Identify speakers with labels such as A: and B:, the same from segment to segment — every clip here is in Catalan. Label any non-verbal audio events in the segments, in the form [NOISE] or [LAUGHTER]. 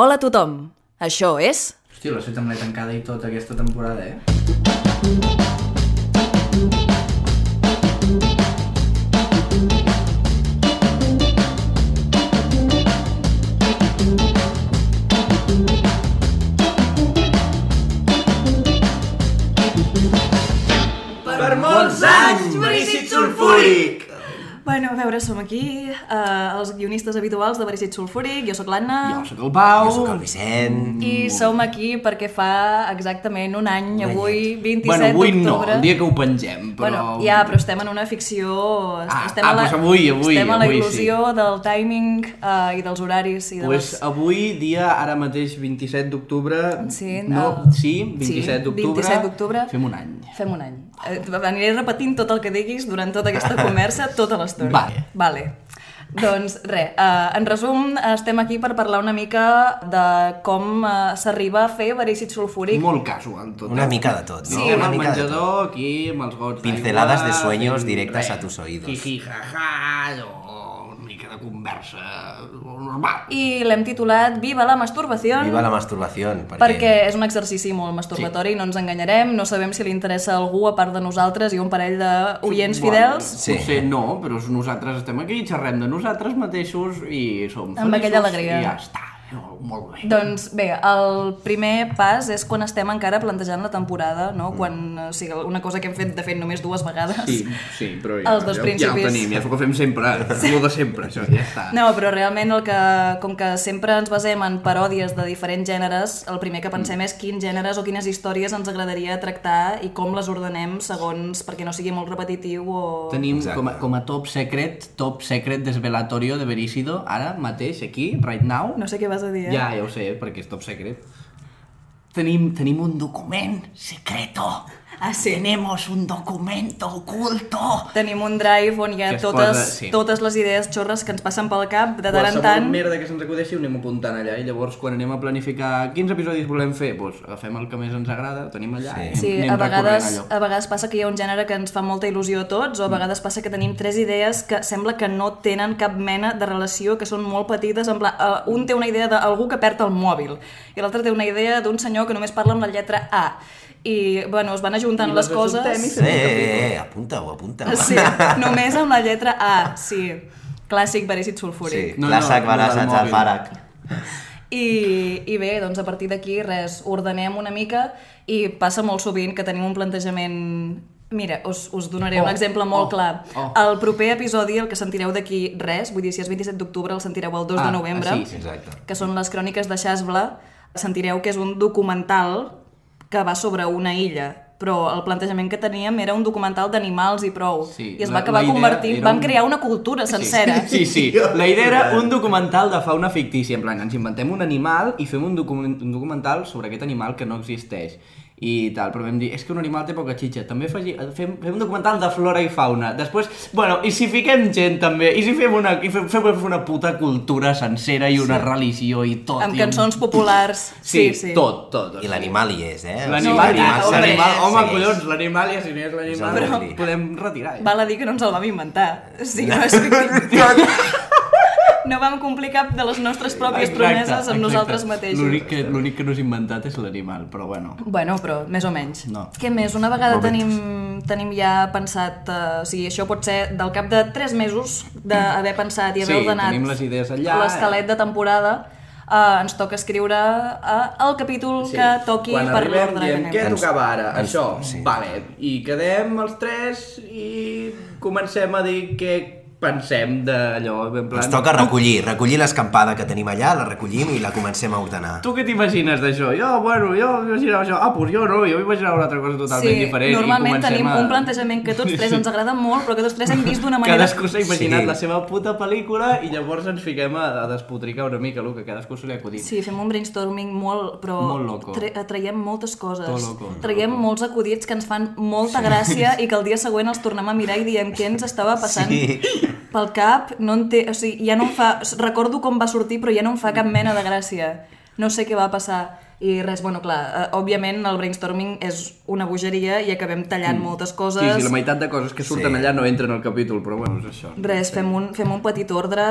A: Hola a tothom! Això és...
B: Hòstia, l'has fet amb l'he tancada i tot aquesta temporada, eh? Per molts anys, Brígid Sulfúric!
A: Bueno, a veure, som aquí, eh, els guionistes habituals de Verícit Sulfúric, jo sóc l'Anna...
C: Jo sóc el Pau.
B: Jo sóc el Vicent.
A: I som aquí perquè fa exactament un any, avui, 27
C: bueno, avui no,
A: d'octubre.
C: el dia que ho pengem, però...
A: Bueno, ja, però estem en una ficció... est-
C: Ah,
A: estem
C: ah,
A: a la,
C: doncs avui, avui,
A: Estem a la
C: avui,
A: il·lusió del timing eh, i dels horaris i de les...
C: Pues avui, dia ara mateix 27 d'octubre...
A: Sí,
C: no,
A: el-
C: sí,
A: sí,
C: 27 d'octubre...
A: 27 d'octubre.
C: Fem un any.
A: Fem un any. Eh, Aniré repetint tot el que diguis durant tota aquesta conversa, tota l'estona.
C: Vale.
A: Vale. Doncs res, eh, en resum, estem aquí per parlar una mica de com eh, s'arriba a fer verícit sulfúric.
C: Molt casual, tot.
D: Una mica de tot, no?
C: Sí, amb
D: una
C: el
D: mica de
C: menjador, aquí, amb els gots d'aigua...
D: Pinceladas de sueños
C: fent
D: directes
C: res.
D: a tus oídos.
C: Jiji, jaja, allò, una mica de conversa... normal.
A: I l'hem titulat Viva la masturbació.
D: Viva la masturbació,
A: Perquè és un exercici molt masturbatori, sí. no ens enganyarem, no sabem si li interessa a algú a part de nosaltres i un parell d'oients
C: Bueno,
A: fidels.
D: Sí.
C: Potser no, però nosaltres estem aquí, xerrem de nosaltres mateixos i som feliços.
A: Amb aquella alegria.
C: I ja està, Oh, molt bé.
A: Doncs bé, el primer pas és quan estem encara plantejant la temporada, no? Quan, o sigui, una cosa que hem fet, de fet, només dues vegades.
C: Mm. Sí, sí, però ja,
A: Els dos
C: ja, ja
A: principis.
C: ho tenim, ja és el que fem sempre, sí. el de sempre, això, ja està.
A: No, però realment el que, com que sempre ens basem en paròdies de diferents gèneres, el primer que pensem
C: Mm.
A: és quins gèneres o quines històries ens agradaria tractar i com les ordenem segons perquè no sigui molt repetitiu o...
C: Tenim
D: Exacte.
C: com a, com a top secret, top secret desvelatorio de Verícido, ara mateix, aquí, right now.
A: No sé què vas a dir, eh?
C: Ja, ja ho sé, perquè és top secret. Tenim, tenim un document secreto.
A: Ah, sí.
C: Tenemos un documento oculto.
A: Tenim un drive on hi ha
C: Que es
A: totes,
C: posa- sí.
A: totes les idees xorres que ens passen pel cap de tant en
C: Qualsevol
A: tant.
C: merda que se'ns acudeixi ho anem apuntant allà i llavors quan anem a planificar quins episodis volem fer, doncs agafem el que més ens agrada, ho tenim allà i anem,
A: Sí,
C: Eh, anem
A: a vegades,
C: recorrent allò. Mm.
A: a vegades passa que hi ha un gènere que ens fa molta il·lusió a tots, o a vegades passa que tenim tres idees que sembla que no tenen cap mena de relació, que són molt petites, en pla, uh, un té una idea d'algú que perd el mòbil, i l'altre té una idea d'un senyor que només parla amb la lletra A. I, bueno, es van ajuntant
C: I
A: les
C: les ajuntem i
A: coses...
D: Eh, eh, eh, apunta-ho, apunta-ho.
A: Sí, només amb la lletra A, sí. Clàssic verícit sulfúric.
D: Sí,
C: No, no,
D: clàssic
C: no, del
D: balassats al
C: mòbil.
D: fàrac.
A: I, I bé, doncs a partir d'aquí res, ordenem una mica i passa molt sovint que tenim un plantejament... Mira, us, us donaré oh,
C: Oh,
A: un exemple molt
C: oh,
A: clar.
C: oh.
A: El proper episodi, el que sentireu d'aquí res, vull dir, si és 27 d'octubre, el sentireu el 2
C: Ah,
A: de novembre,
C: ah, sí, sí,
D: exacte.
A: que són les cròniques de Xasbla, sentireu que és un documental que va sobre una illa però el plantejament que teníem era un documental d'animals i prou.
C: Sí,
A: I es
C: la-
A: va acabar
C: la idea
A: convertint...
C: era
A: Vam
C: un-
A: crear una cultura eh, sencera.
C: Sí, sí. La idea era un documental de fauna fictícia, en plan, ens inventem un animal i fem un, document, un documental sobre aquest animal que no existeix i tal, però vam dir, és que un animal té poca xitxa també faci, fem, fem un documental de flora i fauna després, bueno, i si fiquem gent també, i si fem una, i fem, fem una puta cultura sencera i una sí. religió i tot,
A: Amb
C: i un-
A: cançons populars.
C: sí, sí, tot, tot o
D: I
C: sigui.
D: l'animal hi és, eh?
C: L'animal,
A: No,
C: ja,
A: home,
C: l'animal, home,
D: segueix.
C: collons, l'animal, ja si no és l'animal,
D: Però-
C: podem retirar. eh? Ja.
A: Val a dir que no ens el vam inventar. Sí, no, és
C: [LAUGHS]
A: fictici. No vam complir cap de les nostres pròpies promeses amb nosaltres mateixos.
C: L'únic que, l'únic que no s'ha inventat és l'animal, però bueno.
A: Bueno, però més o menys.
C: No.
A: Què més? Una vegada tenim, tenim ja pensat... eh, o sigui, això pot ser del cap de 3 mesos d'haver pensat i haver
C: Sí,
A: ordenat
C: tenim les idees allà, eh.
A: l'esquelet de temporada. eh, ens toca escriure eh, el capítol que toqui
C: Quan
A: per
C: arribem
A: l'ordre que
C: diem,
A: anem.
C: què
D: Ens-
C: tocava ara?
D: ens-
C: Això,
D: sí.
C: vale. I quedem els tres i comencem a dir què pensem d'allò. En plan,
D: Ens toca recollir, recollir l'escampada que tenim allà, la recollim i la comencem a ordenar.
C: Tu què t'imagines d'això? Jo, bueno, jo m'imaginava això. Ah, pues jo no, jo m'imaginava una altra cosa totalment diferent. i
A: normalment
C: comencem
A: tenim
C: a...
A: un plantejament que a tots tres
C: [LAUGHS]
A: ens agrada molt, però que tots tres hem vist d'una manera
C: Cadascú s'ha imaginat
D: Sí.
C: la seva puta pel·lícula i llavors ens fiquem a, a despotricar una mica, el que cadascú se li ha acudit.
A: Sí, fem un brainstorming molt, però
C: Molt loco.
A: Tra traiem moltes coses.
C: Tot loco.
A: traiem molts acudits que ens fan molta gràcia i que el dia següent els tornem a mirar i diem què ens estava passant
D: Sí.
A: pel cap. No en té, o sigui, ja no em fa, recordo com va sortir, però ja no em fa cap mena de gràcia. No sé què va passar. I res, bueno, clar, eh, òbviament el brainstorming és una bogeria i acabem tallant moltes coses.
C: Mm. sí, sí, la meitat de coses que surten
D: Sí.
C: allà no entren al capítol, però bueno, és això.
A: Res, fem un, fem un petit ordre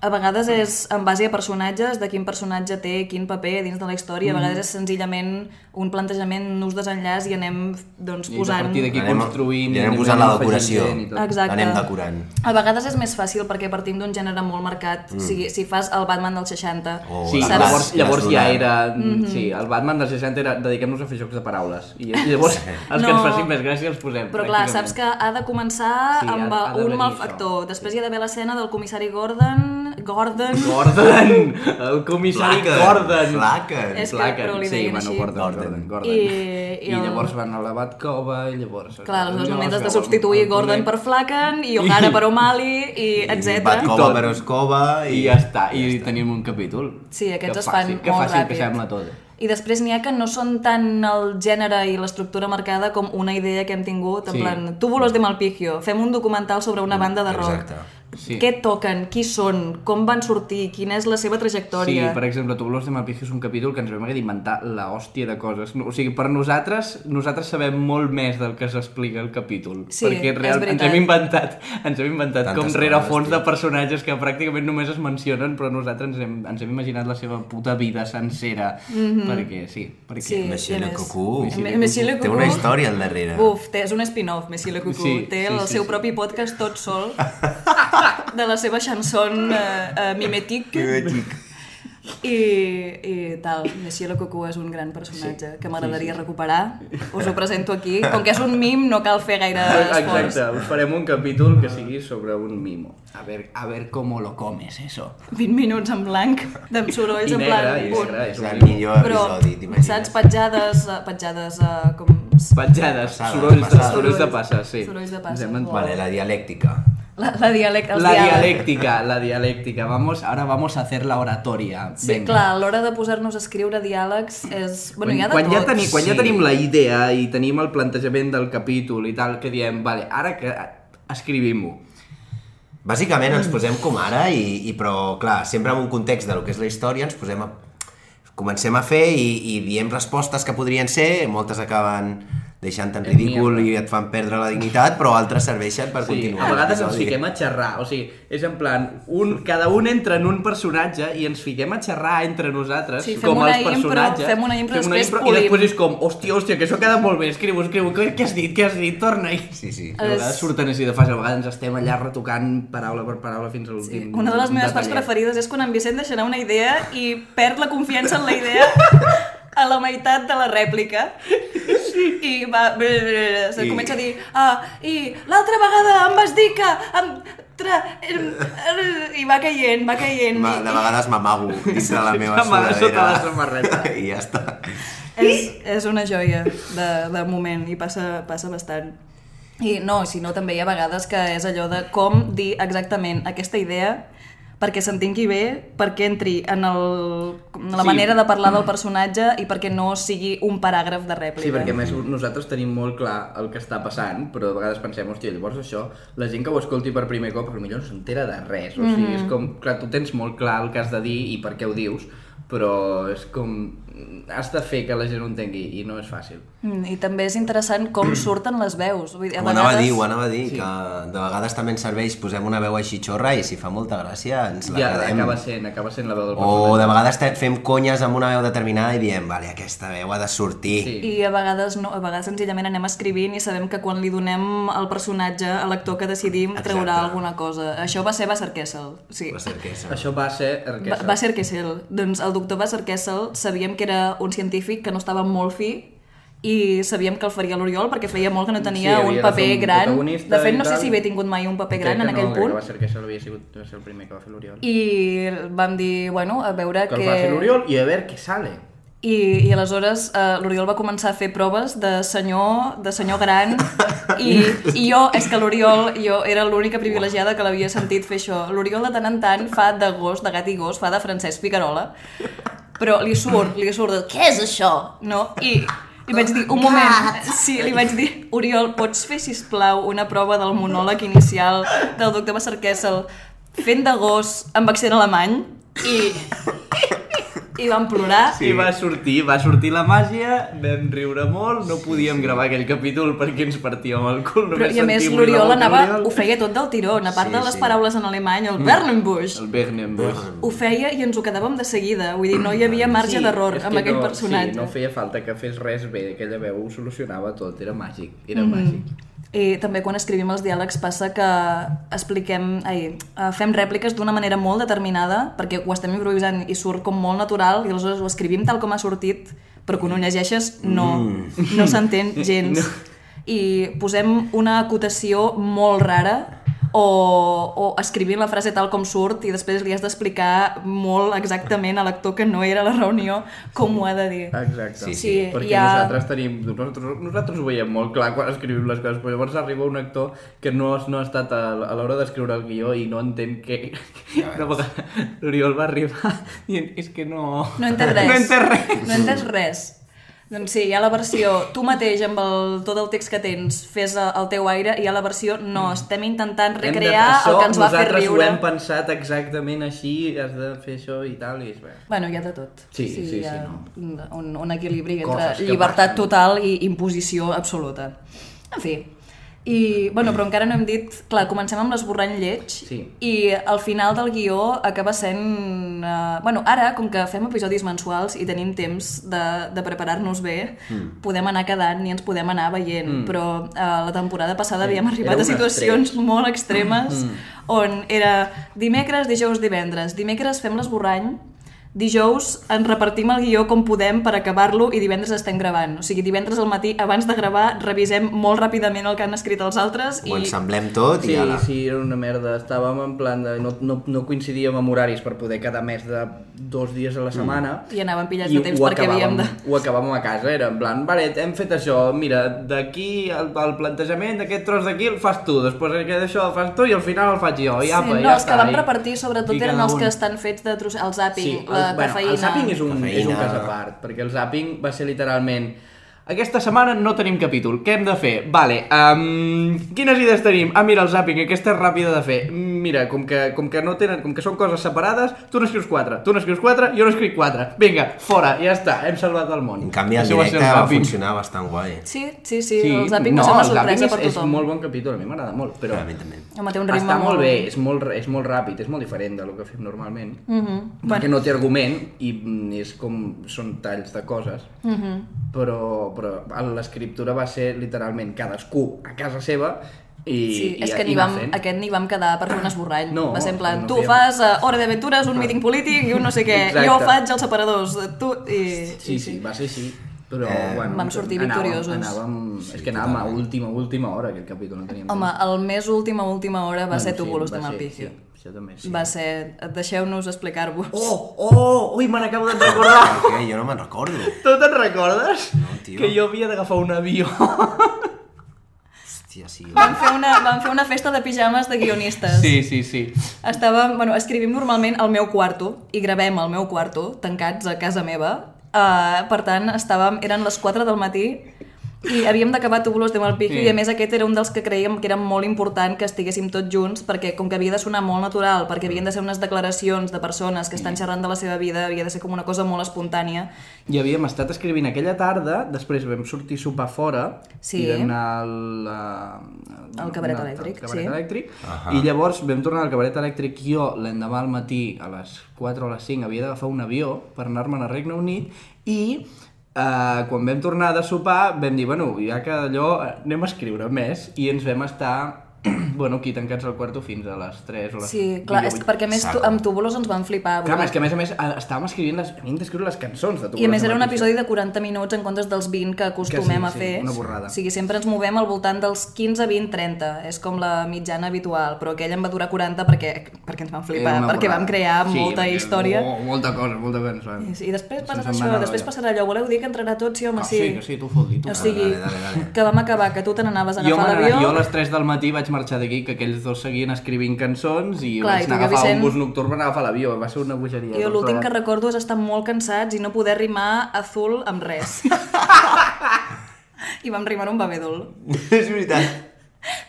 A: a vegades és en base a personatges, de quin personatge té quin paper dins de la història,
C: Mm-hmm.
A: a vegades és senzillament un plantejament, un ús desenllaç i anem doncs,
C: I a
A: posant...
C: partir d'aquí
D: Anem-
C: construïm...
D: li anem
C: i
D: posant la
C: afegint
D: decoració.
C: gent i tot.
A: Exacte.
D: Anem decorant.
A: A vegades és més fàcil perquè partim d'un gènere molt marcat. Mm. Si, si fas el Batman del 60,
D: O
C: Oh, Sí,
D: la-
C: llavors,
D: Oh, les-
C: llavors
D: les
C: ja
D: dones.
C: era... mm,
A: Mhm.
C: Sí, el Batman dels 60 era dediquem-nos a fer jocs de paraules. I llavors els que ens
A: No.
C: facin més gràcia els posem.
A: Però clar, saps que ha de començar sí,
C: Sí, ha-
A: amb
C: ha
A: ha,
C: de
A: un
C: venir
A: malfactor. Després hi ha d'haver l'escena del comissari Gordon... Gordon...
C: Gordon! El comissari
D: Flaca,
C: Gordon!
D: flaca.
A: És que
C: Flaca,
A: però li
C: sí,
A: deien
C: bueno,
A: així.
C: Gordon,
D: Gordon.
C: Gordon, Gordon.
A: I-
C: I,
A: i el-
C: llavors van a la Batcova i llavors...
A: Clar, aleshores
C: llavors
A: només has de
C: veuen
A: substituir
C: el
A: Gordon
C: Comet.
A: per Flacken i O'Hara per O'Malley i etc.
D: Batcova
C: tot.
D: per Escova i...
C: I ja està, i, tenim un capítol.
A: Sí, aquests
C: Que
A: es fan
C: fàcil,
A: molt
C: Que fàcil
A: ràpid.
C: que sembla tot.
A: I després n'hi ha que no són tant el gènere i l'estructura marcada com una idea que hem tingut, en
C: Sí.
A: sí. plan, túbulos de Malpigio, fem un documental sobre una banda de rock.
D: exacte.
C: Sí.
A: Què toquen, qui són, com van sortir, quina és la seva
C: Sí,
A: trajectòria.
C: per exemple, Tubulos de Malpigio és un capítol que ens vam haver d'inventar la hòstia de coses. No, O sigui, per nosaltres, nosaltres sabem molt més del que s'explica el capítol.
A: Sí,
C: perquè
A: és
C: real, ens
A: veritat.
C: hem inventat, ens hem inventat
D: Tantes
C: com
D: coses,
C: rerefons
D: tio.
C: de personatges que pràcticament només es mencionen, però nosaltres ens hem, ens hem imaginat la seva puta vida sencera.
A: Mhm.
C: Perquè, sí, perquè...
D: Monsieur
A: i a
D: Le
A: més-
D: Cuckoo.
A: Me- Monsieur Le
D: Té
A: Cuckoo.
D: una història al darrere.
A: Uf, té, és un spin-off, Messi Le Cucú.
C: Sí,
A: Sí, té
C: sí,
A: sí, el
C: sí,
A: seu
C: sí.
A: propi podcast tot
C: [LAUGHS]
A: sol de la seva chanson eh, eh, Mimetic.
D: Mimetic.
A: I, I tal, Messi Le Cucú és un gran personatge sí, que m'agradaria sí, sí. recuperar. Us ho presento aquí. Com que és un mim, no cal fer gaire esforç.
C: Exacte, us farem un capítol que sigui sobre un mimo. A ver, a ver cómo lo comes, eso.
A: 20 minuts en blanc, d'en sorolls
C: I
A: en
C: negre,
A: blanc.
C: i
A: punt.
C: negre,
D: És el millor
A: Ah, Però,
D: episodi, t'imagines?
A: saps, petjades, eh, petjades eh, com...
C: Petjades,
D: Passades,
C: sorolls, de,
D: passades.
C: sorolls de passes, sí.
A: Sorolls de
C: Ens
A: passes,
C: hem
A: molt
C: entrat.
D: Vale, la dialèctica.
A: La, la dialecta,
C: La dialéctica, la dialéctica. Vamos, ahora vamos a hacer la oratoria.
A: Sí,
C: Venga.
A: clar, a l'hora de posar-nos a escriure diàlegs és... Bueno, hi ha de
C: quan, ja
A: tot.
C: teni, quan ja
D: sí.
C: tenim la idea i tenim el plantejament del capítol i tal, que diem, vale, ara que escrivim-ho.
D: Bàsicament ens posem com ara, i, i però clar, sempre en un context de lo que és la història ens posem a... Comencem a fer i, i diem respostes que podrien ser, moltes acaben deixant en ridícul i et fan perdre la dignitat, però altres serveixen per
C: Sí, a
D: continuar.
C: vegades ens
D: l'episodi.
C: fiquem a xerrar, o sigui, és en plan, un, cada un entra en un personatge i ens fiquem a xerrar entre nosaltres,
A: Sí, fem
C: com
A: una
C: els
A: impro,
C: personatges.
A: fem una impro, després
C: I
A: polim.
C: després és com, hòstia, hòstia, que això queda molt bé, escriu, escriu, què, què has dit, què has dit, torna-hi.
D: Sí, sí.
C: A vegades
A: Es-
C: surten així de fàcil, a vegades ens estem allà retocant paraula per paraula fins a l'últim
A: Una de les meves parts
C: detallet.
A: preferides és quan en Vicent deixarà una idea i perd la confiança en la idea a la meitat de la rèplica. I va... Se
D: I-
A: comença a dir... Ah, I l'altra vegada em vas dir que... Em... Tra... em- er", I va caient, va caient.
D: Ma- De vegades m'amago dins de la meva
C: S'amaga
D: sudadera.
C: sota la samarreta.
D: [LAUGHS] I ja està.
A: És, és una joia de, de moment i passa, passa bastant. I no, si no, també hi ha vegades que és allò de com dir exactament aquesta idea perquè s'entingui bé, perquè entri en, el, en la sí.
C: Sí.
A: manera de parlar del personatge i perquè no sigui un paràgraf de rèplica.
C: [LAUGHS] Sí, perquè a més nosaltres tenim molt clar el que està passant, però de vegades pensem, hòstia, llavors això, la gent que ho escolti per primer cop potser no s'entera de res, o sigui,
A: Mhm.
C: és com, clar, tu tens molt clar el que has de dir i per què ho dius, però és com, has de fer que la gent ho entengui, i no és fàcil.
A: Mm, I també és interessant com surten les veus. Vull dir, a
D: Ho Mm. anava a
A: vegades-
D: dir, ho anava a dir, que de vegades també ens serveix, posem una veu així xorra i si fa molta gràcia ens la
C: Ja,
D: quedem.
C: acaba sent, acaba sent la veu del
D: O de vegades te- fem conyes amb una veu determinada i diem, vale, aquesta veu ha de sortir.
C: Sí.
A: I a vegades no, a vegades senzillament anem escrivint i sabem que quan li donem al personatge, a l'actor que decidim,
D: Exacte.
A: traurà alguna cosa. Això va ser Basser Kessel. Sí.
D: Va ser que és-
C: Això va ser...
A: Va, va ser Kessel. Doncs el doctor Basser Kessel sabíem que era un científic que no estava molt fi i sabíem que el faria l'Oriol perquè feia molt que no tenia
C: Sí, havia
A: un
C: de
A: paper
C: fer un
A: gran.
C: protagonista
A: De fet,
C: i
A: no sé
C: tal.
A: si havia tingut mai un paper gran en aquell
C: no,
A: punt.
C: Que va ser que això havia sigut va ser el primer que va fer l'Oriol.
A: I vam dir, bueno, a veure
C: Que,
A: que...
C: el va fer l'Oriol i a veure què sale.
A: I, i aleshores eh, l'Oriol va començar a fer proves de senyor, de senyor gran i, i jo, és que l'Oriol jo era l'única privilegiada que l'havia sentit fer això. L'Oriol de tant en tant fa de gos, de gat i gos, fa de Francesc Picarola però li surt, li surt de, què és això? No? I li vaig dir, un moment, sí, li vaig dir, Oriol, pots fer, si plau una prova del monòleg inicial del doctor Basser Kessel fent de gos amb accent alemany? I, i vam plorar.
C: Sí. I va sortir, va sortir la màgia, vam riure molt, no podíem gravar aquell capítol perquè ens partíem el cul.
A: Però,
C: només
A: I a més,
C: sentíem
A: l'Oriol
C: la boca
A: anava,
C: d'Oriol.
A: ho feia tot del tiró, a part
D: Sí,
A: de les
D: sí.
A: paraules en alemany,
C: Mm.
A: el Bernenbusch.
C: El Bernenbusch.
A: Ho feia i ens ho quedàvem de seguida, vull dir, no hi havia marge d'error
C: Ah, és que
A: amb aquell
C: no,
A: personatge.
C: Sí, no feia falta que fes res bé, aquella veu ho solucionava tot, era màgic, era
A: Mm.
C: màgic.
A: I també quan escrivim els diàlegs passa que expliquem, ai, eh, fem rèpliques d'una manera molt determinada, perquè ho estem improvisant i surt com molt natural, i aleshores ho escrivim tal com ha sortit, però quan ho llegeixes no, no s'entén gens. I posem una acotació molt rara, o, o escrivim la frase tal com surt i després li has d'explicar molt exactament a l'actor que no era a la reunió com ho ha de dir.
C: Exacte.
D: Sí,
A: sí,
C: Perquè
A: hi ha-
C: nosaltres tenim... Nosaltres, nosaltres ho veiem molt clar quan escrivim les coses, però llavors arriba un actor que no, es- no ha estat a, a l'hora d'escriure el guió i no entén què... Una vegada l'Oriol va arribar [LAUGHS] dient, és que no...
A: No he entès res.
C: [LAUGHS] No he entès res.
A: No he entès res. Doncs sí, hi ha la versió tu mateix amb el, tot el text que tens fes eh, el teu aire i hi ha la versió no, estem intentant
C: Hem de-
A: recrear
C: això,
A: el que ens va fer
C: Nosaltres ho
A: riure.
C: hem pensat exactament així, has de fer això i tal, i és bé.
A: Bueno, hi ha de tot.
C: Sí, sí,
A: hi ha
C: sí, no.
A: un- un, un equilibri entre
C: Coses que
A: llibertat
C: passen.
A: total i imposició absoluta. En fi, i, bueno, però encara no hem dit... Clar, comencem amb l'esborrany lleig
C: Sí.
A: i al final del guió acaba sent... Eh, bueno, ara, com que fem episodis mensuals i tenim temps de, de preparar-nos bé, mm. podem anar quedant i ens podem anar veient, mm. però eh, la temporada passada sí. havíem arribat
C: Era
A: a
C: un
A: situacions molt extremes
C: Mm.
A: on era dimecres, dijous, divendres. Dimecres fem l'esborrany, dijous ens repartim el guió com podem per acabar-lo i divendres estem gravant. O sigui, divendres al matí, abans de gravar, revisem molt ràpidament el que han escrit els altres
D: Ho
A: i...
D: ensemblem tot
C: Sí,
D: i ala.
C: sí, era una merda. Estàvem en plan de... No, no, no coincidíem amb horaris per poder quedar més de dos dies a la setmana.
A: I anàvem pillats
C: I
A: de temps
C: ho
A: perquè havíem
C: acabàvem-
A: de-
C: Ho acabàvem a casa, era en plan, vale, hem fet això, mira, d'aquí el, el plantejament d'aquest tros d'aquí el fas tu, després aquest d'això el fas tu i al final el faig jo, i apa,
A: sí,
C: i
A: no,
C: ja
A: els
C: està,
A: que vam
C: i-
A: repartir sobretot
C: i
A: eren
C: cada
A: els que
C: un.
A: estan fets de trosset, el zapping,
C: Sí, el,
A: la
C: bueno,
A: cafeïna...
C: el zapping és un, és un
D: Cafeïna.
C: cas a part, perquè el zapping va ser literalment aquesta setmana no tenim capítol, què hem de fer? Vale, um, quines idees tenim? Ah, mira, el zapping, aquesta és ràpida de fer. Mira, com que, com que no tenen, com que són coses separades, tu n'escrius quatre, tu n'escrius quatre, jo n'escric quatre. Vinga, fora, ja està, hem salvat el món.
D: En canvi, el
C: Això va ser
D: directe va
C: zapping.
D: funcionar bastant guai.
A: Sí, sí, sí, sí, el zapping no, va ser una
C: el zapping
A: sorpresa
C: és,
A: per tothom.
C: És molt bon capítol, a mi m'agrada molt, però...
D: A mi també.
A: Home, té un ritme
C: Està molt,
A: molt-
C: bé, és molt, és molt ràpid, és molt diferent del que fem normalment,
A: Mm -hmm.
C: perquè no té argument i mm, és com són talls de coses
A: Mm -hmm.
C: però, però l'escriptura va ser literalment cadascú a casa seva i,
A: Sí,
C: i,
A: és que ni
C: i anar
A: vam,
C: fent.
A: aquest ni vam quedar per fer un esborrall.
C: No,
A: va ser en plan,
C: no
A: tu
C: fèiem.
A: fas uh, Hora d'Aventures, un míting polític i un no sé què,
C: Exacte.
A: jo faig els separadors, tu... I...
C: sí, sí, va ser així però bueno,
A: Vam sortir
C: anàvem,
A: victoriosos.
C: anàvem, és que anàvem a última, última hora aquest capítol no teníem
A: Home, el més última, última hora va
C: Bueno,
A: ser tu bolos
C: va
A: de
C: ser,
A: Malpicio.
C: sí, això també, sí.
A: Va ser, deixeu-nos explicar-vos.
C: oh, oh, ui, me n'acabo de recordar
D: Perquè jo no me'n recordo.
C: tu te'n recordes? No,
D: tio.
C: que jo havia d'agafar un avió
D: Hòstia, sí.
C: [LAUGHS]
A: Vam fer, una, vam fer una festa de pijames de guionistes.
C: sí, sí, sí
A: Estàvem, bueno, escrivim normalment al meu quarto i gravem al meu quarto, tancats a casa meva. Uh, per tant, estàvem, eren les 4 del matí i havíem d'acabar Tubulos de Malpico
C: Sí.
A: sí. i a més aquest era un dels que creiem que era molt important que estiguéssim tots junts perquè com que havia de sonar molt natural, perquè havien de ser unes declaracions de persones que estan xerrant de la seva vida, havia de ser com una cosa molt espontània.
C: I havíem estat escrivint aquella tarda, després vam sortir a sopar fora
A: Sí.
C: i vam anar al... eh,
A: Al cabaret
C: al-
A: elèctric,
C: al cabaret
A: sí.
C: elèctric i llavors vam tornar al cabaret elèctric jo l'endemà al matí a les 4 o les 5 havia d'agafar un avió per anar-me'n a Regne Unit i eh, quan vam tornar de sopar vam dir, bueno, ja que allò eh, anem a escriure més i ens vam estar [CLEARS THROAT] bueno, aquí tancats al quarto fins a les 3 o les
A: Sí, clar, és,
C: vuit.
A: perquè a més tu, amb Tubulos ens van flipar.
C: Clar, és que a més a més eh, estàvem escrivint les, havíem d'escriure les cançons de tu.
A: I a més era un episodi de 40 minuts en comptes dels 20 que acostumem
C: Que
A: a
C: sí, sí,
A: fer.
C: una borrada.
A: O sigui, sempre ens movem al voltant dels 15, 20, 30. És com la mitjana habitual, però aquell em va durar 40 perquè, perquè ens van flipar,
C: Era Eh, una
A: perquè
C: borrada.
A: vam crear
C: Sí,
A: molta
C: perquè-
A: història.
C: Oh, molta cosa, molta cosa.
A: I, I després
C: Se'ns
A: passarà
C: en va
A: això,
C: anar
A: després
C: l'olla.
A: passarà allò. Voleu dir que entrarà tot? Sí, home,
C: Ah,
A: sí.
C: sí, que sí, tu fot-li, tu.
A: O sigui,
D: Dale, dale, dale.
A: que vam acabar, que tu te n'anaves a
C: Jo,
A: agafar
C: m'agrada- jo a
A: l'avió.
C: les 3 del matí vaig marxar d'aquí, que aquells dos seguien escrivint cançons i
A: Clar, i
C: vaig
A: tu
C: anar a
A: que
C: agafar
A: Vicent-
C: un bus nocturn per anar a agafar l'avió, va ser una bogeria.
A: Jo
C: tot
A: l'últim que
C: plegat.
A: recordo és estar molt cansats i no poder rimar azul
C: [LAUGHS]
A: amb res. I vam rimar un babèdol.
D: És veritat.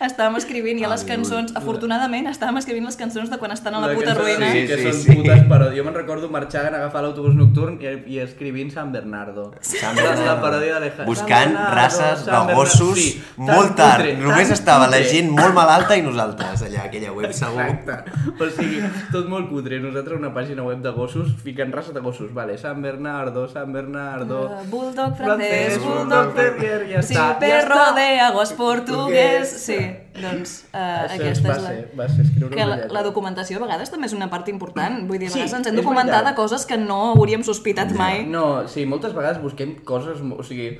A: Estàvem escrivint ja les cançons, afortunadament estàvem escrivint les cançons de quan estan a la puta
C: cançó-
A: ruïna.
C: Sí,
D: Sí,
C: que
D: sí,
C: són
D: sí.
C: putes, però jo me'n recordo marxar, agafar l'autobús nocturn i, i escrivint San Bernardo.
D: San
C: Era
D: Bernardo.
C: La paròdia d'Alejandro.
D: Buscant races de gossos molt tard. Només estava la gent molt malalta i nosaltres allà, aquella web, segur.
C: Exacte. O sigui, tot molt cutre. Nosaltres una pàgina web de gossos, fiquen raça de gossos. Vale, San Bernardo, San Bernardo...
A: Uh, Bulldog francès,
C: Francès,
A: bulldog
C: bulldog terrier, ja
A: sí,
C: està, ja
A: perro
C: està.
A: de agos portuguès. Sí, doncs uh,
C: Això
A: aquesta
C: va
A: és la...
C: Ser, va ser escriure
A: Que
C: una
A: la,
C: lletra.
A: la documentació a vegades també és una part important. Vull dir, a
C: Sí,
A: vegades ens hem
C: és
A: documentat de
C: veritat.
A: coses que no hauríem sospitat mai.
C: No, sí, moltes vegades busquem coses... mo- O sigui,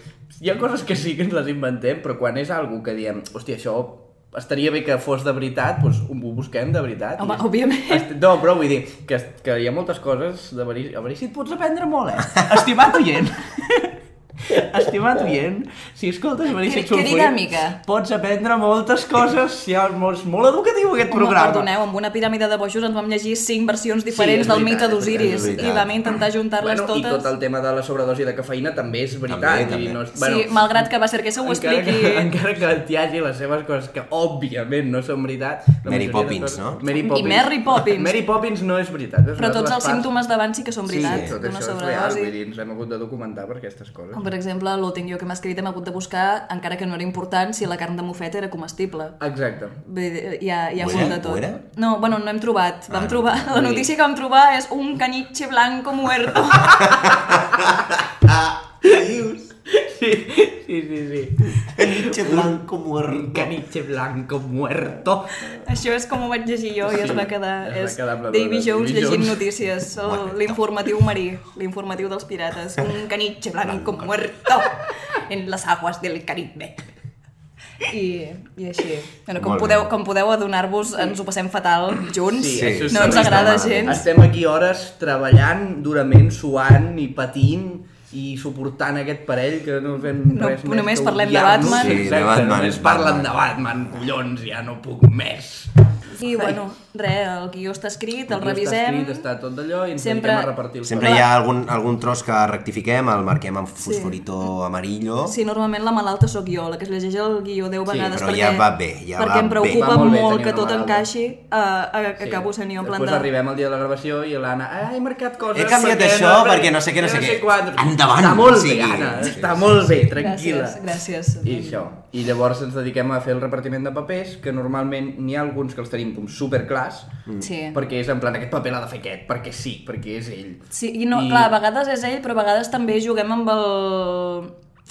C: hi ha coses que sí que ens les inventem, però quan és algú que diem, hòstia, això estaria bé que fos de veritat, doncs ho busquem de veritat.
A: Home,
C: I-
A: òbviament.
C: Est- No, però vull dir que, que hi ha moltes coses de veritat. A veure si et pots aprendre molt, eh? Estimat
A: [LAUGHS]
C: oient! Estimat oient, si escoltes Veríssic
A: Que- que
C: Sulfuric,
A: dinàmica.
C: pots aprendre moltes coses, si és molt, molt educatiu aquest
A: Home,
C: programa.
A: perdoneu, amb una piràmide de bojos ens vam llegir cinc versions diferents
C: és
A: del
C: veritat,
A: mite
C: és veritat,
A: d'Osiris
D: és veritat.
A: i vam intentar juntar-les
C: Bueno, I
A: totes.
C: tot el tema de la sobredosi de cafeïna també és veritat.
D: També,
C: vull dir,
D: també.
C: No és,
A: Sí, malgrat que va ser que se ho
C: encara
A: expliqui...
C: Que, encara que hi hagi les seves coses que, òbviament, no són veritat... la majoria
D: Mary
C: de
D: Poppins,
C: coses-
D: no?
C: Mary
A: I
C: Poppins.
A: Mary Poppins.
C: Mary Poppins no és veritat. és
A: Però
C: una de
A: tots
C: les
A: els
C: parts-
A: símptomes d'abans sí que són veritats,
D: sí,
C: tot
A: d'una
C: això és real,
A: sobredosi.
C: vull dir, ens hem hagut de documentar per aquestes coses.
A: Com per exemple, l'últim guió que m'ha escrit hem hagut de buscar, encara que no era important, si la carn de mofeta era comestible.
C: Exacte.
A: Vull dir, Hi ha, hi ha
D: Ho
A: hagut
D: era?
A: de tot.
D: Ho era?
A: No, bueno, no hem trobat. Vam
D: Ah,
A: trobar... La
C: Vull dir-
A: notícia que vam trobar és un caniche blanco muerto.
D: Dius,
C: Sí, sí, sí, sí.
D: pinche blanco
C: Un
D: muerto.
C: caniche blanco muerto.
A: Això és com ho vaig llegir jo i es
C: Sí,
A: va quedar...
C: es va
A: és
C: quedar amb la
A: Davy
C: dona,
A: Jones
C: Davy
A: llegint
C: Jones. [LAUGHS]
A: notícies, el- l'informatiu marí, l'informatiu dels pirates. Un caniche blanco muerto en les aguas del Caribe. I, i així. Bueno, com,
D: Molt bé.
A: podeu, com podeu adonar-vos, ens ho passem fatal junts.
C: Sí,
D: això
A: no
D: sí.
A: ens agrada
D: Està malament.
A: gens.
C: Estem aquí hores treballant durament, suant i patint i suportant aquest parell que no fem
A: No,
C: res més
A: només
C: que
A: parlem de
C: odiar-nos.
A: Batman.
D: Sí, de
C: Exacte,
D: Batman,
C: només
D: Batman.
C: parlen de Batman, collons, ja no puc més.
A: I bueno, res, el guió està escrit, el
C: Aquí Està,
A: revisem.
C: escrit, està tot allò i ens
A: Sempre-
C: sempre... a repartir el
D: Sempre hi ha algun, algun tros que rectifiquem, el marquem amb fosforito amarillo.
A: Sí, normalment la malalta sóc jo, la que es llegeix el guió 10 vegades
D: però
A: perquè,
D: ja va bé, ja
A: perquè
D: va
A: em
D: bé.
A: preocupa
C: Va molt
A: molt,
C: bé tenir
A: que
C: una
A: tot
C: malalta.
A: encaixi a, a, a acabo senyor en plan
C: Després
A: de...
C: arribem al dia de la gravació i l'Anna, "Ah, he marcat coses...
D: He canviat
C: perquè
D: això perquè no sé què, no sé què."
C: quant."
D: Endavant,
C: Està molt
D: sí.
C: bé, Anna,
D: Sí,
C: està
D: sí,
C: molt bé, tranquil·la.
A: Gràcies, gràcies.
C: I això. I llavors ens dediquem a fer el repartiment de papers, que normalment n'hi ha alguns que els tenim com superclars,
A: Sí.
C: perquè és en plan, aquest paper l'ha de fer aquest, perquè sí, perquè és ell.
A: Sí, i no, I... clar, a vegades és ell, però a vegades també juguem amb el...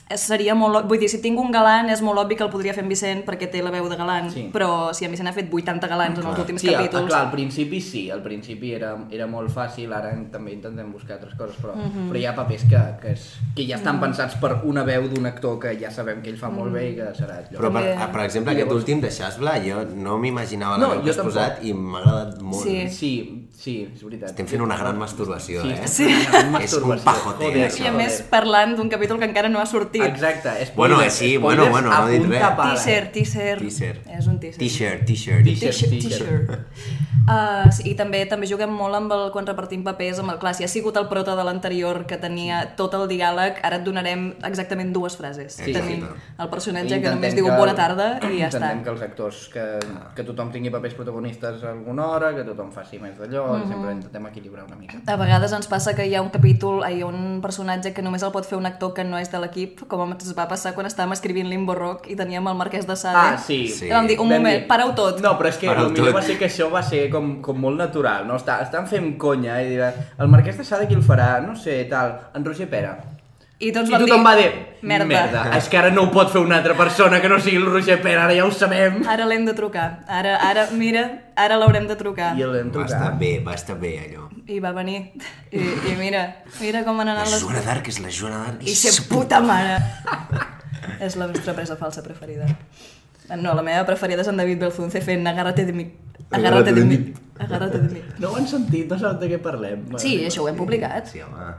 A: Eh, Seria molt... ob- Vull dir, si tinc un galant, és molt obvi que el podria fer en Vicent perquè té la veu de galant,
C: Sí.
A: però si en Vicent ha fet 80 galants en els últims
C: Sí, al,
A: capítols...
C: clar, al principi sí, al principi era, era molt fàcil, ara també intentem buscar altres coses, però,
A: Mhm.
C: però hi ha papers que, que, és, que ja estan pensats per una veu d'un actor que ja sabem que ell fa molt bé
A: Mhm.
C: i que serà allò.
D: Però, per,
A: També.
D: per exemple, aquest últim de Xasbla, jo no m'imaginava la
C: No,
D: veu que
C: jo
D: has
C: tampoc.
D: posat i m'ha agradat molt.
A: Sí.
C: Sí, sí, és veritat.
D: Estem fent una gran masturbació,
C: Sí,
D: eh?
C: estem fent una gran
D: [LAUGHS] És un
C: masturbació.
D: pajote,
C: Joder,
A: I a
D: això.
A: més, parlant d'un capítol que encara no ha sortit.
C: eh. Exacte, spoilers,
D: Bueno, sí, bueno,
C: spoilers
D: bueno, no he dit
C: apunta
D: res.
C: pala. eh?
A: Teaser, teaser.
D: Teaser.
A: És un teaser.
D: T-shirt, t-shirt.
A: T-shirt,
C: T-shirt. [LAUGHS]
A: t-shirt. Uh, sí, I també també juguem molt amb el, quan repartim papers amb el clar, si ha sigut el prota de l'anterior que tenia tot el diàleg, ara et donarem exactament dues frases.
D: Exacte.
A: Tenim el personatge que
C: Intentem
A: només diu bona tarda i ja està.
C: Intentem que els actors, que, que tothom tingui papers protagonistes a alguna hora, que tothom faci més d'allò, mm
A: Mhm.
C: sempre intentem equilibrar una mica.
A: A vegades ens passa que hi ha un capítol, ai, hi ha un personatge que només el pot fer un actor que no és de l'equip, com ens va passar quan estàvem escrivint Limbo Rock i teníem el Marquès de Sade.
C: Ah, sí.
D: Sí.
A: I vam dir, un
C: Vam
A: moment,
C: dir-
A: pareu tot.
C: No, però és que
D: Pareu
C: el millor
D: tot.
C: va ser que això va ser com, com molt natural, no? Està, estan fent conya i dirà, el Marquès de Sade qui el farà? No sé, tal, en Roger Pera.
A: I tots Doncs
C: I
A: vam
C: tothom
A: dir,
C: va dir,
A: merda.
C: merda, és que ara no ho pot fer una altra persona que no sigui el Roger Pera, ara ja ho sabem.
A: Ara l'hem de trucar. Ara, ara, mira, ara l'haurem de trucar.
C: I el vam
D: Va estar
C: trucar.
D: bé, va estar bé, allò.
A: I va venir. I, i mira, mira com han
D: La
A: anat les...
D: Joana d'Arc és la Joana d'Arc.
A: I ser puta mare! és la nostra presa falsa preferida. No, la meva preferida és en David Belzunce fent agárrate de mi. Agárrate de mi. Agárrate de mi.
C: No ho han sentit, no saben de què parlem.
A: Sí, això ho hem publicat.
D: Sí, home.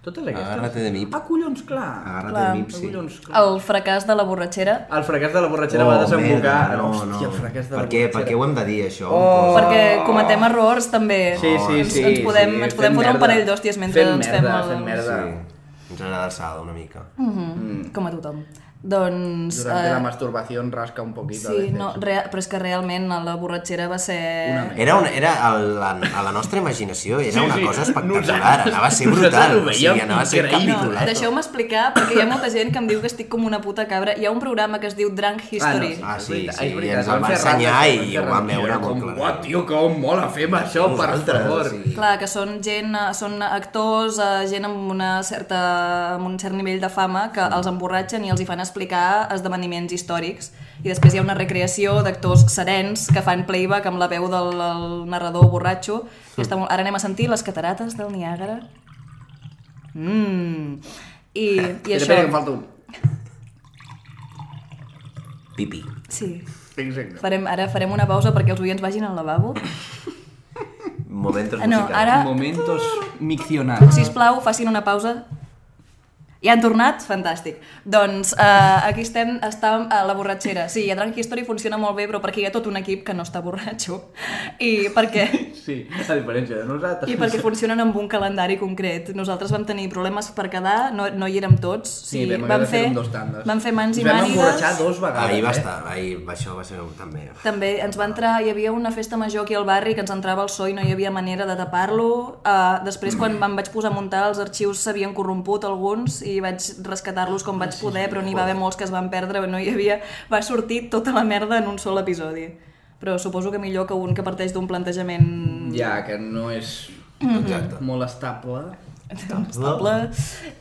C: Totes aquestes.
D: Agárrate de mi.
C: Ah, collons, clar.
D: Agárrate
A: Clar.
D: de mi,
C: Ah,
D: sí. Oh,
C: collons, clar.
A: El fracàs de la borratxera,
C: El fracàs de la borratxera va desembocar.
D: merda, no, no.
C: Hòstia, el fracàs de la
D: per, què, per
C: borratxera.
D: què ho hem de dir, això?
C: Oh.
A: perquè cometem errors també.
C: Sí, sí,
A: ens,
C: sí.
A: Ens podem,
C: sí,
A: ens podem
C: fent
A: fotre un
C: merda.
A: parell d'hòsties mentre
C: fent
A: ens fem
C: merda,
A: el...
C: Fent merda,
D: Sí. Ens agrada alçada una mica.
A: Mhm, Com a tothom. Doncs...
C: Durante
A: eh,
C: tota la masturbación rasca un poquito. a
A: sí,
C: veces.
A: no, rea, però és que realment a la borratxera va ser...
C: Una merda.
D: Era, una, era a, la, a la nostra imaginació, era
C: Sí,
D: una
C: sí. [LAUGHS]
D: cosa espectacular,
C: Nosaltres-
D: anava a ser
C: nosaltres
D: brutal,
C: ho
D: o sigui,
C: veiem
D: anava a ser
C: increïble.
A: No,
D: capitulat.
A: Ah, deixeu-me explicar, perquè hi ha molta gent que em diu que estic com una puta cabra. Hi ha un programa que es diu Drunk History.
C: Ah, no,
D: Ah, sí,
C: Veritat,
D: sí,
C: és veritat,
D: i ens
C: vam
D: el va
C: fer
D: ensenyar
C: ràdio,
D: i
C: vam
D: ho vam
C: fer
D: veure
C: ràdio,
D: molt
C: com,
D: clar.
C: "Uah, tio, com mola, fem això, per favor".
A: Clar, que són gent, eh, són actors, eh, gent amb, una certa, amb un cert nivell de fama que els emborratxen i els hi fan explicar esdeveniments històrics. I després hi ha una recreació d'actors serens que fan playback amb la veu del el narrador borratxo.
C: Hmm.
A: I està molt... Ara anem a sentir les catarates del Niàgara. Mmm... I, i
C: Espera,
A: això...
C: espera, que em falta un.
D: Pipi.
A: Sí.
C: Exacte.
A: Farem, ara farem una pausa perquè els oients vagin al lavabo.
D: Momentos
A: Ah, No,
D: musicals.
A: ara,
C: Momentos miccionados.
A: si plau, facin una pausa. Ja han tornat? Fantàstic. Doncs uh, aquí estem, estàvem a la borratxera. Sí, a Drunk History funciona molt bé, però perquè hi ha tot un equip que no està borratxo. I perquè,
C: Sí, a diferència de nosaltres.
A: i perquè funcionen amb un calendari concret. Nosaltres vam tenir problemes per quedar, no, no hi érem tots.
C: Sí, vam haver de fer un dos tandes.
A: Vam fer mans i
C: Ens vam emborratxar
A: mànigues.
C: dos vegades,
D: Ahir va
C: eh?
D: estar, ahir això va ser un- també.
A: També ens va entrar, hi havia una festa major aquí al barri que ens entrava el so i no hi havia manera de tapar-lo. Uh, després, quan me'n vaig posar a muntar, els arxius s'havien corromput alguns i vaig rescatar-los com vaig poder, però n'hi va haver molts que es van perdre, no hi havia... Va sortir tota la merda en un sol episodi. Però suposo que millor que un que parteix d'un plantejament
C: Ja, que no és
A: Mm-hmm.
D: Exacte.
C: molt estable. Doncs
A: estable.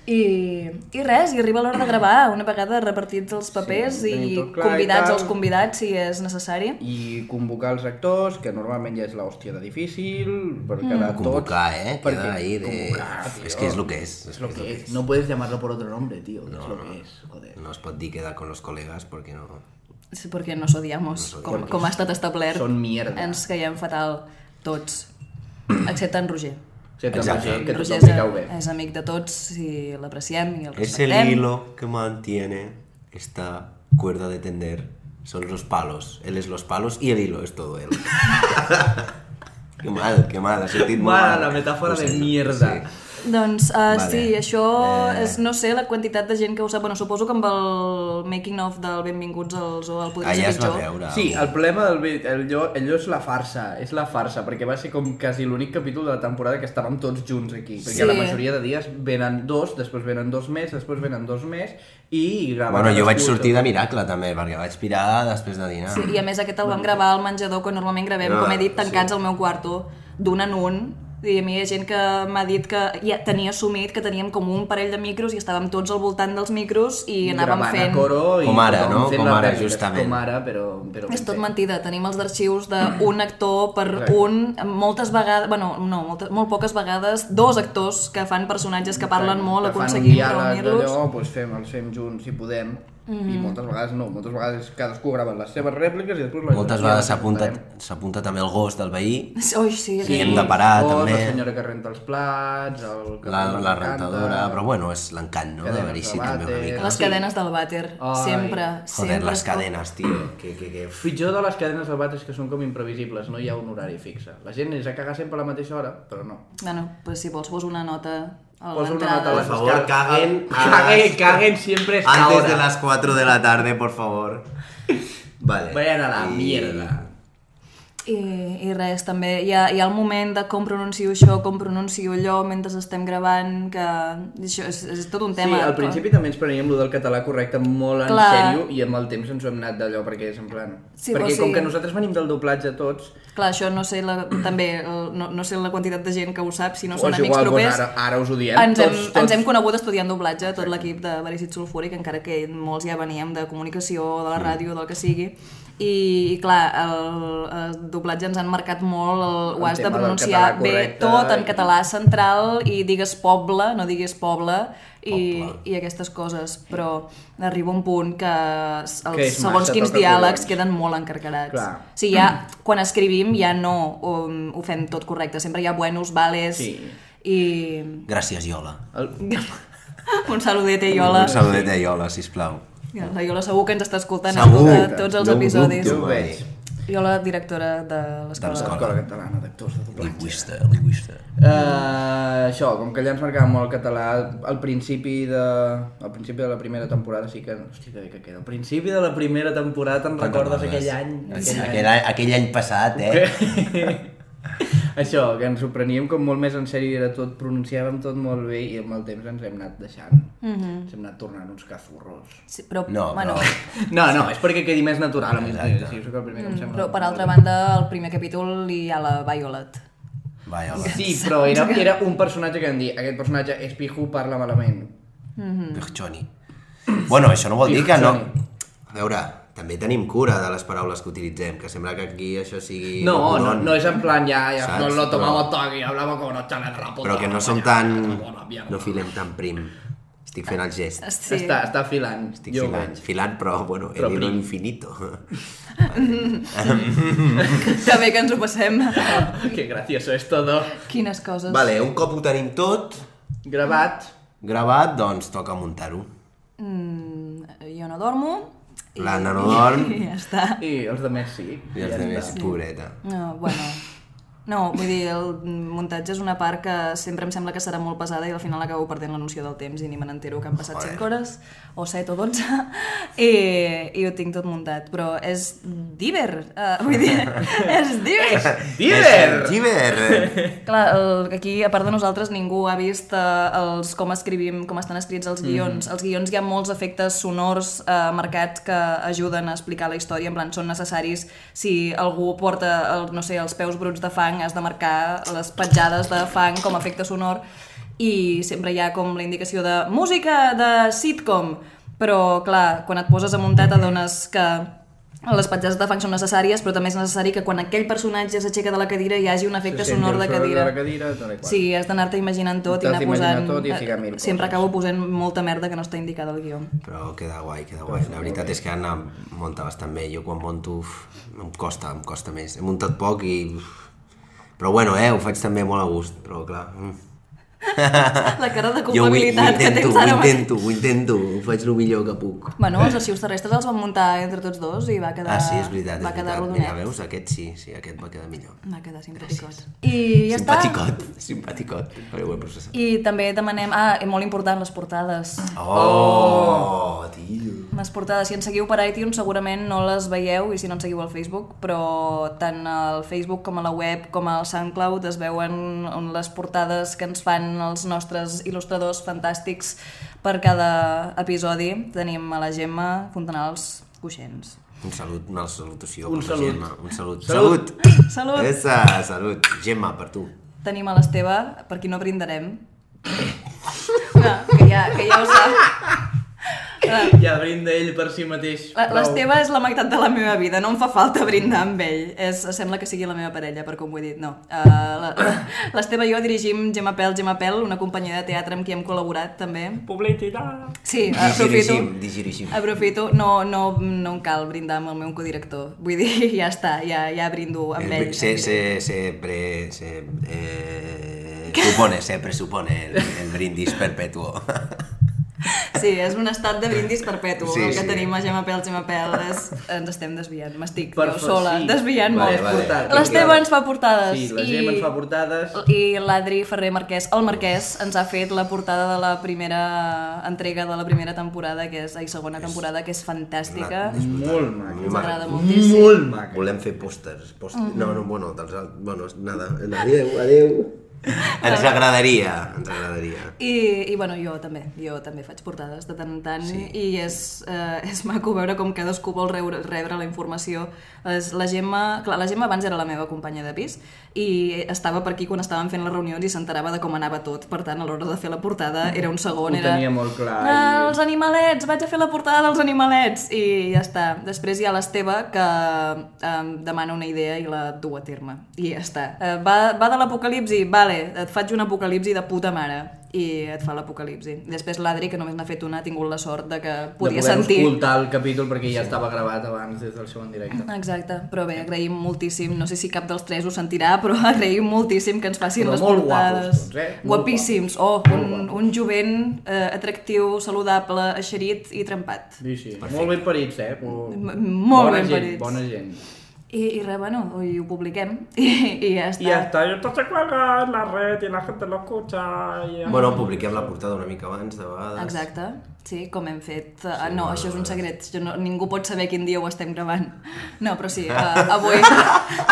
A: I, I res, i arriba l'hora de gravar, una vegada repartits els papers
C: Sí, tenim
A: i
C: tot clar i
A: convidats
C: tal.
A: els convidats, si és necessari.
C: i convocar els actors, que normalment ja és l'hòstia de difícil, per quedar tots...
D: Mm. Convocar, eh? Queda ahí de...
C: Convocar, tio.
D: És que és lo que és.
C: Es lo que
D: és.
C: es. No puedes llamarlo por otro nombre, tío. No, es lo que es, joder.
D: No es pot dir quedar con los colegas perquè no...
A: Sí, perquè nos odiamos, com, com ha estat establert.
C: Són mierda.
A: Ens caiem fatal, tots, excepte en Roger.
C: Excepte
D: Exacte.
C: Roger, eh, que
A: Roger
C: tothom li cau bé.
A: és amic de tots i l'appreciem i el
D: Es el
A: respectem.
D: hilo que mantiene esta cuerda de tender. Son los palos. Él es los palos y el hilo es todo
C: [LAUGHS]
D: él. qué mal, qué mal. Ha sortit molt
C: Mala,
D: mal.
C: la metàfora
D: Ho
C: de
D: sento,
C: mierda.
A: Doncs uh,
D: Vale.
A: sí, això
D: Eh.
A: és, no sé, la quantitat de gent que ho sap. Bueno, suposo que amb el making of del Benvinguts al Zoo
C: Pues
A: el podria
D: Allà
A: ser
D: Ah, es va
A: pitjor.
D: veure.
C: Sí, el problema del vi- allò, allò és la farsa, és la farsa, perquè va ser com quasi l'únic capítol de la temporada que estàvem tots junts aquí, perquè
A: Sí.
C: la majoria de dies venen dos, després venen dos més, després venen dos més, i graven...
D: Bueno, jo vaig
C: cadascú el
D: sortir
C: seu-
D: de miracle també, perquè vaig pirar després de dinar.
A: Sí, I a més aquest el vam gravar al menjador, que normalment gravem,
D: Ah,
A: com he dit, tancats
D: sí.
A: al meu quarto, d'un en un. I a mi hi ha gent que m'ha dit que ja tenia assumit que teníem com un parell de micros i estàvem tots al voltant dels micros i anàvem
C: gravant a
A: fent...
C: Coro i
D: Com ara,
C: tothom
D: no?
C: fent
D: Com
C: les
D: ara,
C: rèpliques,
D: justament.
C: Com ara, però... però
A: És tot
C: ben fet.
A: mentida, tenim els arxius
C: Mm.
A: d'un actor per
C: Exacte.
A: un, moltes vegades, bueno, no, moltes, molt poques vegades, dos actors que fan personatges que parlen molt,
C: Que fan un
A: aconseguim
C: diàleg
A: reunir-los. Mm-hmm.
C: d'allò, doncs fem, els fem junts si podem, i moltes vegades no, moltes vegades cadascú grava les seves rèpliques i després... les-
D: Moltes vegades s'apunta s'apunta també el gos del veí,
A: Ui, sí,
D: Sí,
A: sí.
D: hem de parar,
C: o
D: també.
C: La senyora que renta els plats, el que
D: la, la
C: canta,
D: rentadora... Però bueno, és l'encant, no? De
C: Cadenes
D: Verici
C: de
D: també una
C: vàter.
D: mica.
A: les
C: Sí.
A: cadenes del vàter,
C: Ai.
A: sempre,
D: Joder,
A: sempre. es
D: les
A: pot-
D: cadenes, tio. Que, que, que...
C: Pitjor de les cadenes de batre és que són com imprevisibles, no hi ha un horari fixe. La gent és a cagar sempre a la mateixa hora, però no.
A: Bueno, pues si vols posa una nota a
C: Posa una
A: l'entrada.
C: nota a les
D: Por favor,
C: escales.
D: caguen a
C: Caguen,
D: las-
C: caguen siempre a esta
D: Antes
C: hora.
D: de las 4 de la tarde, por favor. Vale.
C: Vayan a la
D: I-
C: mierda.
A: I, I res, també hi ha, hi ha el moment de com pronuncio això, com pronuncio allò mentre estem gravant, que això és, és tot un tema.
C: Sí, al principi també ens preníem lo del català correcte molt en
A: Clar.
C: sèrio i amb el temps ens ho hem anat d'allò perquè és en plan...
A: Sí,
C: perquè
A: o sigui-
C: com que nosaltres venim del doblatge tots,
A: Clar, això no sé la, també, el- no, no sé la quantitat de gent que ho sap, si no
C: O
A: són
C: és
A: amics
C: igual, doncs
A: propers.
C: ara- ara us ho diem,
A: Ens hem,
C: tots- tots.
A: ens hem conegut estudiant doblatge, tot l'equip de Verícit Sulfúric, encara que molts ja veníem de comunicació, de la ràdio, del que sigui. I, i clar, el, el doblatge ens han marcat molt el,
C: El
A: ho has de
C: tema del
A: pronunciar
C: català
A: bé
C: correcte
A: tot en
C: i-
A: català central i digues poble, no diguis poble i,
D: Poble.
A: i aquestes coses però arriba un punt que s- els
C: Que és
A: segons
C: massa,
A: quins
C: toca
A: diàlegs
C: collons.
A: queden molt encarcarats
C: Clar.
A: Sí, ja, quan escrivim ja no um, ho fem tot correcte, sempre hi ha buenos, vales
C: Sí.
A: i
D: Gràcies, Iola.
C: el...
A: un saludete, Iola.
D: Un saludet a Iola, sisplau.
A: Ja, La Iola segur que ens està escoltant
D: Segur.
A: a tots els
D: No ho
A: episodis.
D: dubto.
C: jo ho veig.
A: Jo la directora de l'escola.
D: De l'escola.
C: Escola catalana d'actors de doblatge.
D: Lingüista, lingüista.
C: Uh, això, com que allà ens marcava molt el català al principi de, al principi de la primera temporada sí que... Hòstia, que bé que queda. Al principi de la primera temporada te'n recordes
D: coses.
C: aquell any?
D: Aquell, aquell, any, aquell any passat, eh?
C: [LAUGHS] Això, que ens ho preníem com molt més en sèrio i era tot, pronunciàvem tot molt bé i amb el temps ens hem anat deixant. Mm -hmm. Ens hem anat tornant uns cazurros.
A: Mhm. Sí, però,
D: No,
A: bueno,
D: però-
C: No, no, és perquè quedi més natural. A mi, sí, és el primer que em sembla.
A: Mm, però per altra banda, el primer capítol hi ha la Violet.
D: Vaja, home.
C: Sí, però era,
A: [LAUGHS]
C: era un personatge que vam dir, aquest personatge és pijo, parla malament.
A: Mm.
D: Pirchoni. Bueno, això no vol dir que no... A veure, també tenim cura de les paraules que utilitzem, que sembla que aquí això sigui...
C: No, no,
D: rodon,
C: no és en plan ya, ya
D: Saps?
C: nos lo
D: Però-
C: tomamos todo aquí, hablamos como nos echan el rapo.
D: Però que no som tan... No filem tan prim. Estic fent el gest.
A: Sí.
C: Està, està filant.
D: Estic jo filant, filant, però, bueno,
C: Però
D: en
C: prim.
D: infinito.
A: També que ens ho passem.
C: [LAUGHS] Que gracioso és todo.
A: Quines coses.
D: vale, un cop ho tenim tot
C: Gravat.
D: gravat, doncs toca muntar-ho.
A: Mm, Jo no dormo. i-
D: L'Anna no dorm.
A: I ja està.
C: I els de més sí.
D: I els demés, pobreta.
A: No, Ah, bueno... No, vull dir, el muntatge és una part que sempre em sembla que serà molt pesada i al final acabo perdent la noció del temps i ni me n'entero que han passat
D: Joder.
A: 5 hores, o 7 o 12, i, i ho tinc tot muntat. Però és diver, uh, vull dir, és diver!
C: Diver!
D: [LAUGHS] Giver!
A: Clar, el, aquí, a part de nosaltres, ningú ha vist eh, els, com escrivim, com estan escrits els guions. Mm. Els guions hi ha molts efectes sonors eh, marcats que ajuden a explicar la història, en plan, són necessaris si algú porta, el, no sé, els peus bruts de fang, has de marcar les petjades de fang com a efecte sonor i sempre hi ha com la indicació de música de sitcom, però clar, quan et poses a muntar t'adones que les petjades de fang són necessàries, però també és necessari que quan aquell personatge s'aixeca de la cadira hi hagi un efecte
C: Sí, sí,
A: sonor
C: el
A: de
C: sonor de
A: cadira.
C: la cadira, tal i qual.
A: Sí, has d'anar-te imaginant tot i
C: T'has
A: anar
C: d'imaginar
A: posant... Eh,
C: tot i ficar mil coses.
A: Sempre acabo posant molta merda que no està indicada al guió.
D: Però queda guai, queda guai. La veritat és que Anna munta bastant bé. Jo quan monto uf, em costa, em costa més. He muntat poc i... uf. Però bueno, eh, ho faig també molt a gust, però clar... mm.
A: La cara de
D: Ah, ho, ho
A: culpabilitat que
D: intento,
A: tens
D: ho
A: ara mateix.
D: intento, ho intento, ho faig el millor que puc.
A: Bueno, els arxius terrestres els van muntar entre tots dos i va quedar,
D: Ah, sí, és veritat,
A: va
D: és
A: quedar
D: veritat.
A: rodonet.
D: Mira, veus, aquest sí, sí, aquest va quedar millor.
A: Va quedar simpaticot. I ja està.
D: simpaticot, [LAUGHS] simpaticot. Però ho he processat.
A: I també demanem... Ah, és molt important, les portades.
D: Oh, tio.
A: Les portades, si ens seguiu per iTunes segurament no les veieu i si no ens seguiu al Facebook, però tant al Facebook com a la web com al SoundCloud es veuen on les portades que ens fan els nostres il·lustradors fantàstics per cada episodi. Tenim a la Gemma Fontanals Coixents.
D: Un salut, una salutació.
C: Un
D: per la
C: salut.
D: Gemma. Un salut.
C: Salut.
A: Salut! És...
D: Esa, salut. Gemma, per tu.
A: Tenim a l'Esteve, per qui no brindarem. No, que ja, que ja ho sap. Ah,
C: Ja brinda ell per si mateix.
A: La-
C: prou.
A: L'Esteve és la meitat de la meva vida, no em fa falta brindar amb ell. És, sembla que sigui la meva parella, per com ho he dit, no. Uh, la- la- L'Esteve i jo dirigim Gemma Pèl, Gemma Pèl, una companyia de teatre amb qui hem col·laborat també.
C: Publicitat.
A: Sí, aprofito.
D: Digirigim, digirigim.
A: Aprofito, no, no, no em cal brindar amb el meu codirector. Vull dir, [LAUGHS] ja està, ja, ja brindo amb
D: El-
A: ell.
D: Eh, Se, se, se, pre, se, eh, supone, se presupone el, el brindis perpetuo. [LAUGHS]
A: Sí, és un estat de brindis perpetu, sí,
D: Sí,
A: el que
D: sí.
A: tenim a Gemma Pèl, Gemma Pèl, és, ens estem desviant, m'estic
C: Per
A: jo
C: fa-
A: sola,
C: sí.
A: desviant
D: Vale,
A: molt.
D: vale.
A: L'Esteve ens fa portades.
C: Sí, la Gemma ens fa portades.
A: I l'Adri Ferrer Marquès, el Marquès, ens ha fet la portada de la primera entrega de la primera temporada, que és, ai, segona temporada, que és fantàstica.
D: Una- és brutal.
C: Molt maca.
D: Molt
A: Ens agrada
D: maca.
A: moltíssim.
C: Molt maca.
D: Volem fer pòsters. pòsters. No, no, bueno, dels alt... Bueno, nada. Adéu, adéu. Ens agradaria, ens agradaria.
A: I, i bueno, jo també, jo també faig portades de tant en tant sí. i és, eh, és maco veure com cadascú vol rebre, rebre la informació. És, la Gemma, clar, la Gemma abans era la meva companya de pis i estava per aquí quan estàvem fent les reunions i s'enterava de com anava tot, per tant a l'hora de fer la portada era un segon,
C: Ho
A: era...
C: tenia molt clar
A: "Ah,
C: i-
A: Els animalets, vaig a fer la portada dels animalets i ja està. Després hi ha l'Esteve que em demana una idea i la du a terme i ja està. Eh, va, va de l'apocalipsi, vale, et faig un apocalipsi de puta mare i et fa l'apocalipsi. Després l'Adri, que només n'ha fet una, ha tingut la sort de que podia
C: de poder
A: sentir...
C: escoltar el capítol perquè ja estava gravat abans des del seu en directe.
A: Exacte, però bé, agraïm moltíssim, no sé si cap dels tres ho sentirà, però [LAUGHS] agraïm moltíssim que ens facin
C: Però
A: les
C: molt
A: portades.
C: guapos tots, eh? Molt
A: Guapíssims, oh, un, un jovent eh, atractiu, saludable, eixerit i trempat.
C: Sí, sí. Molt ben parits, eh? Molt,
A: M- molt
C: bona
A: ben
C: gent,
A: parits.
C: Bona gent.
A: I, i res, bueno, i ho publiquem [LAUGHS] i, i ja està.
E: Y hasta ahí entonces cuelga en la red y la gente lo escucha. Y...
D: Bueno, publiquem la portada una mica abans, de vegades.
A: Exacte, sí, com hem fet. Sí, no, això és un secret, jo no, ningú pot saber quin dia ho estem gravant.
D: [LAUGHS]
A: No, però sí, uh, avui... [LAUGHS]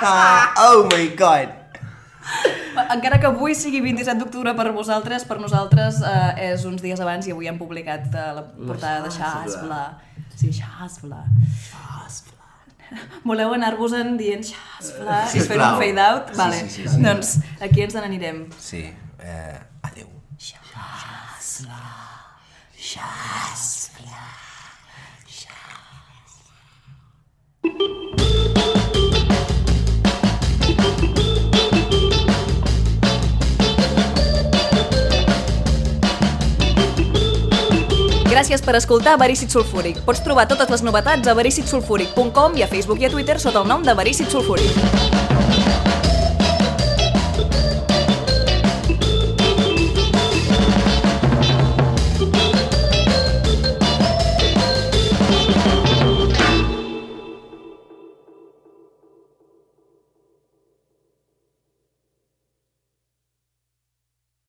D: Ah, [LAUGHS] oh my god!
A: Encara que avui sigui 27 d'octubre per vosaltres, per nosaltres uh, és uns dies abans i avui hem publicat uh, la portada de Xasbla. Sí, Xasbla. [LAUGHS] Voleu anar-vos-en dient Xasbla i fer
D: Sisplau.
A: un fade-out?
D: Sí,
A: vale.
D: sí, sí, sí.
A: Doncs aquí ens n'anirem.
D: Sí, eh, adeu.
A: Gràcies per escoltar Verícit Sulfúric. Pots trobar totes les novetats a vericitsulfúric.com i a Facebook i a Twitter sota el nom de Verícit Sulfúric.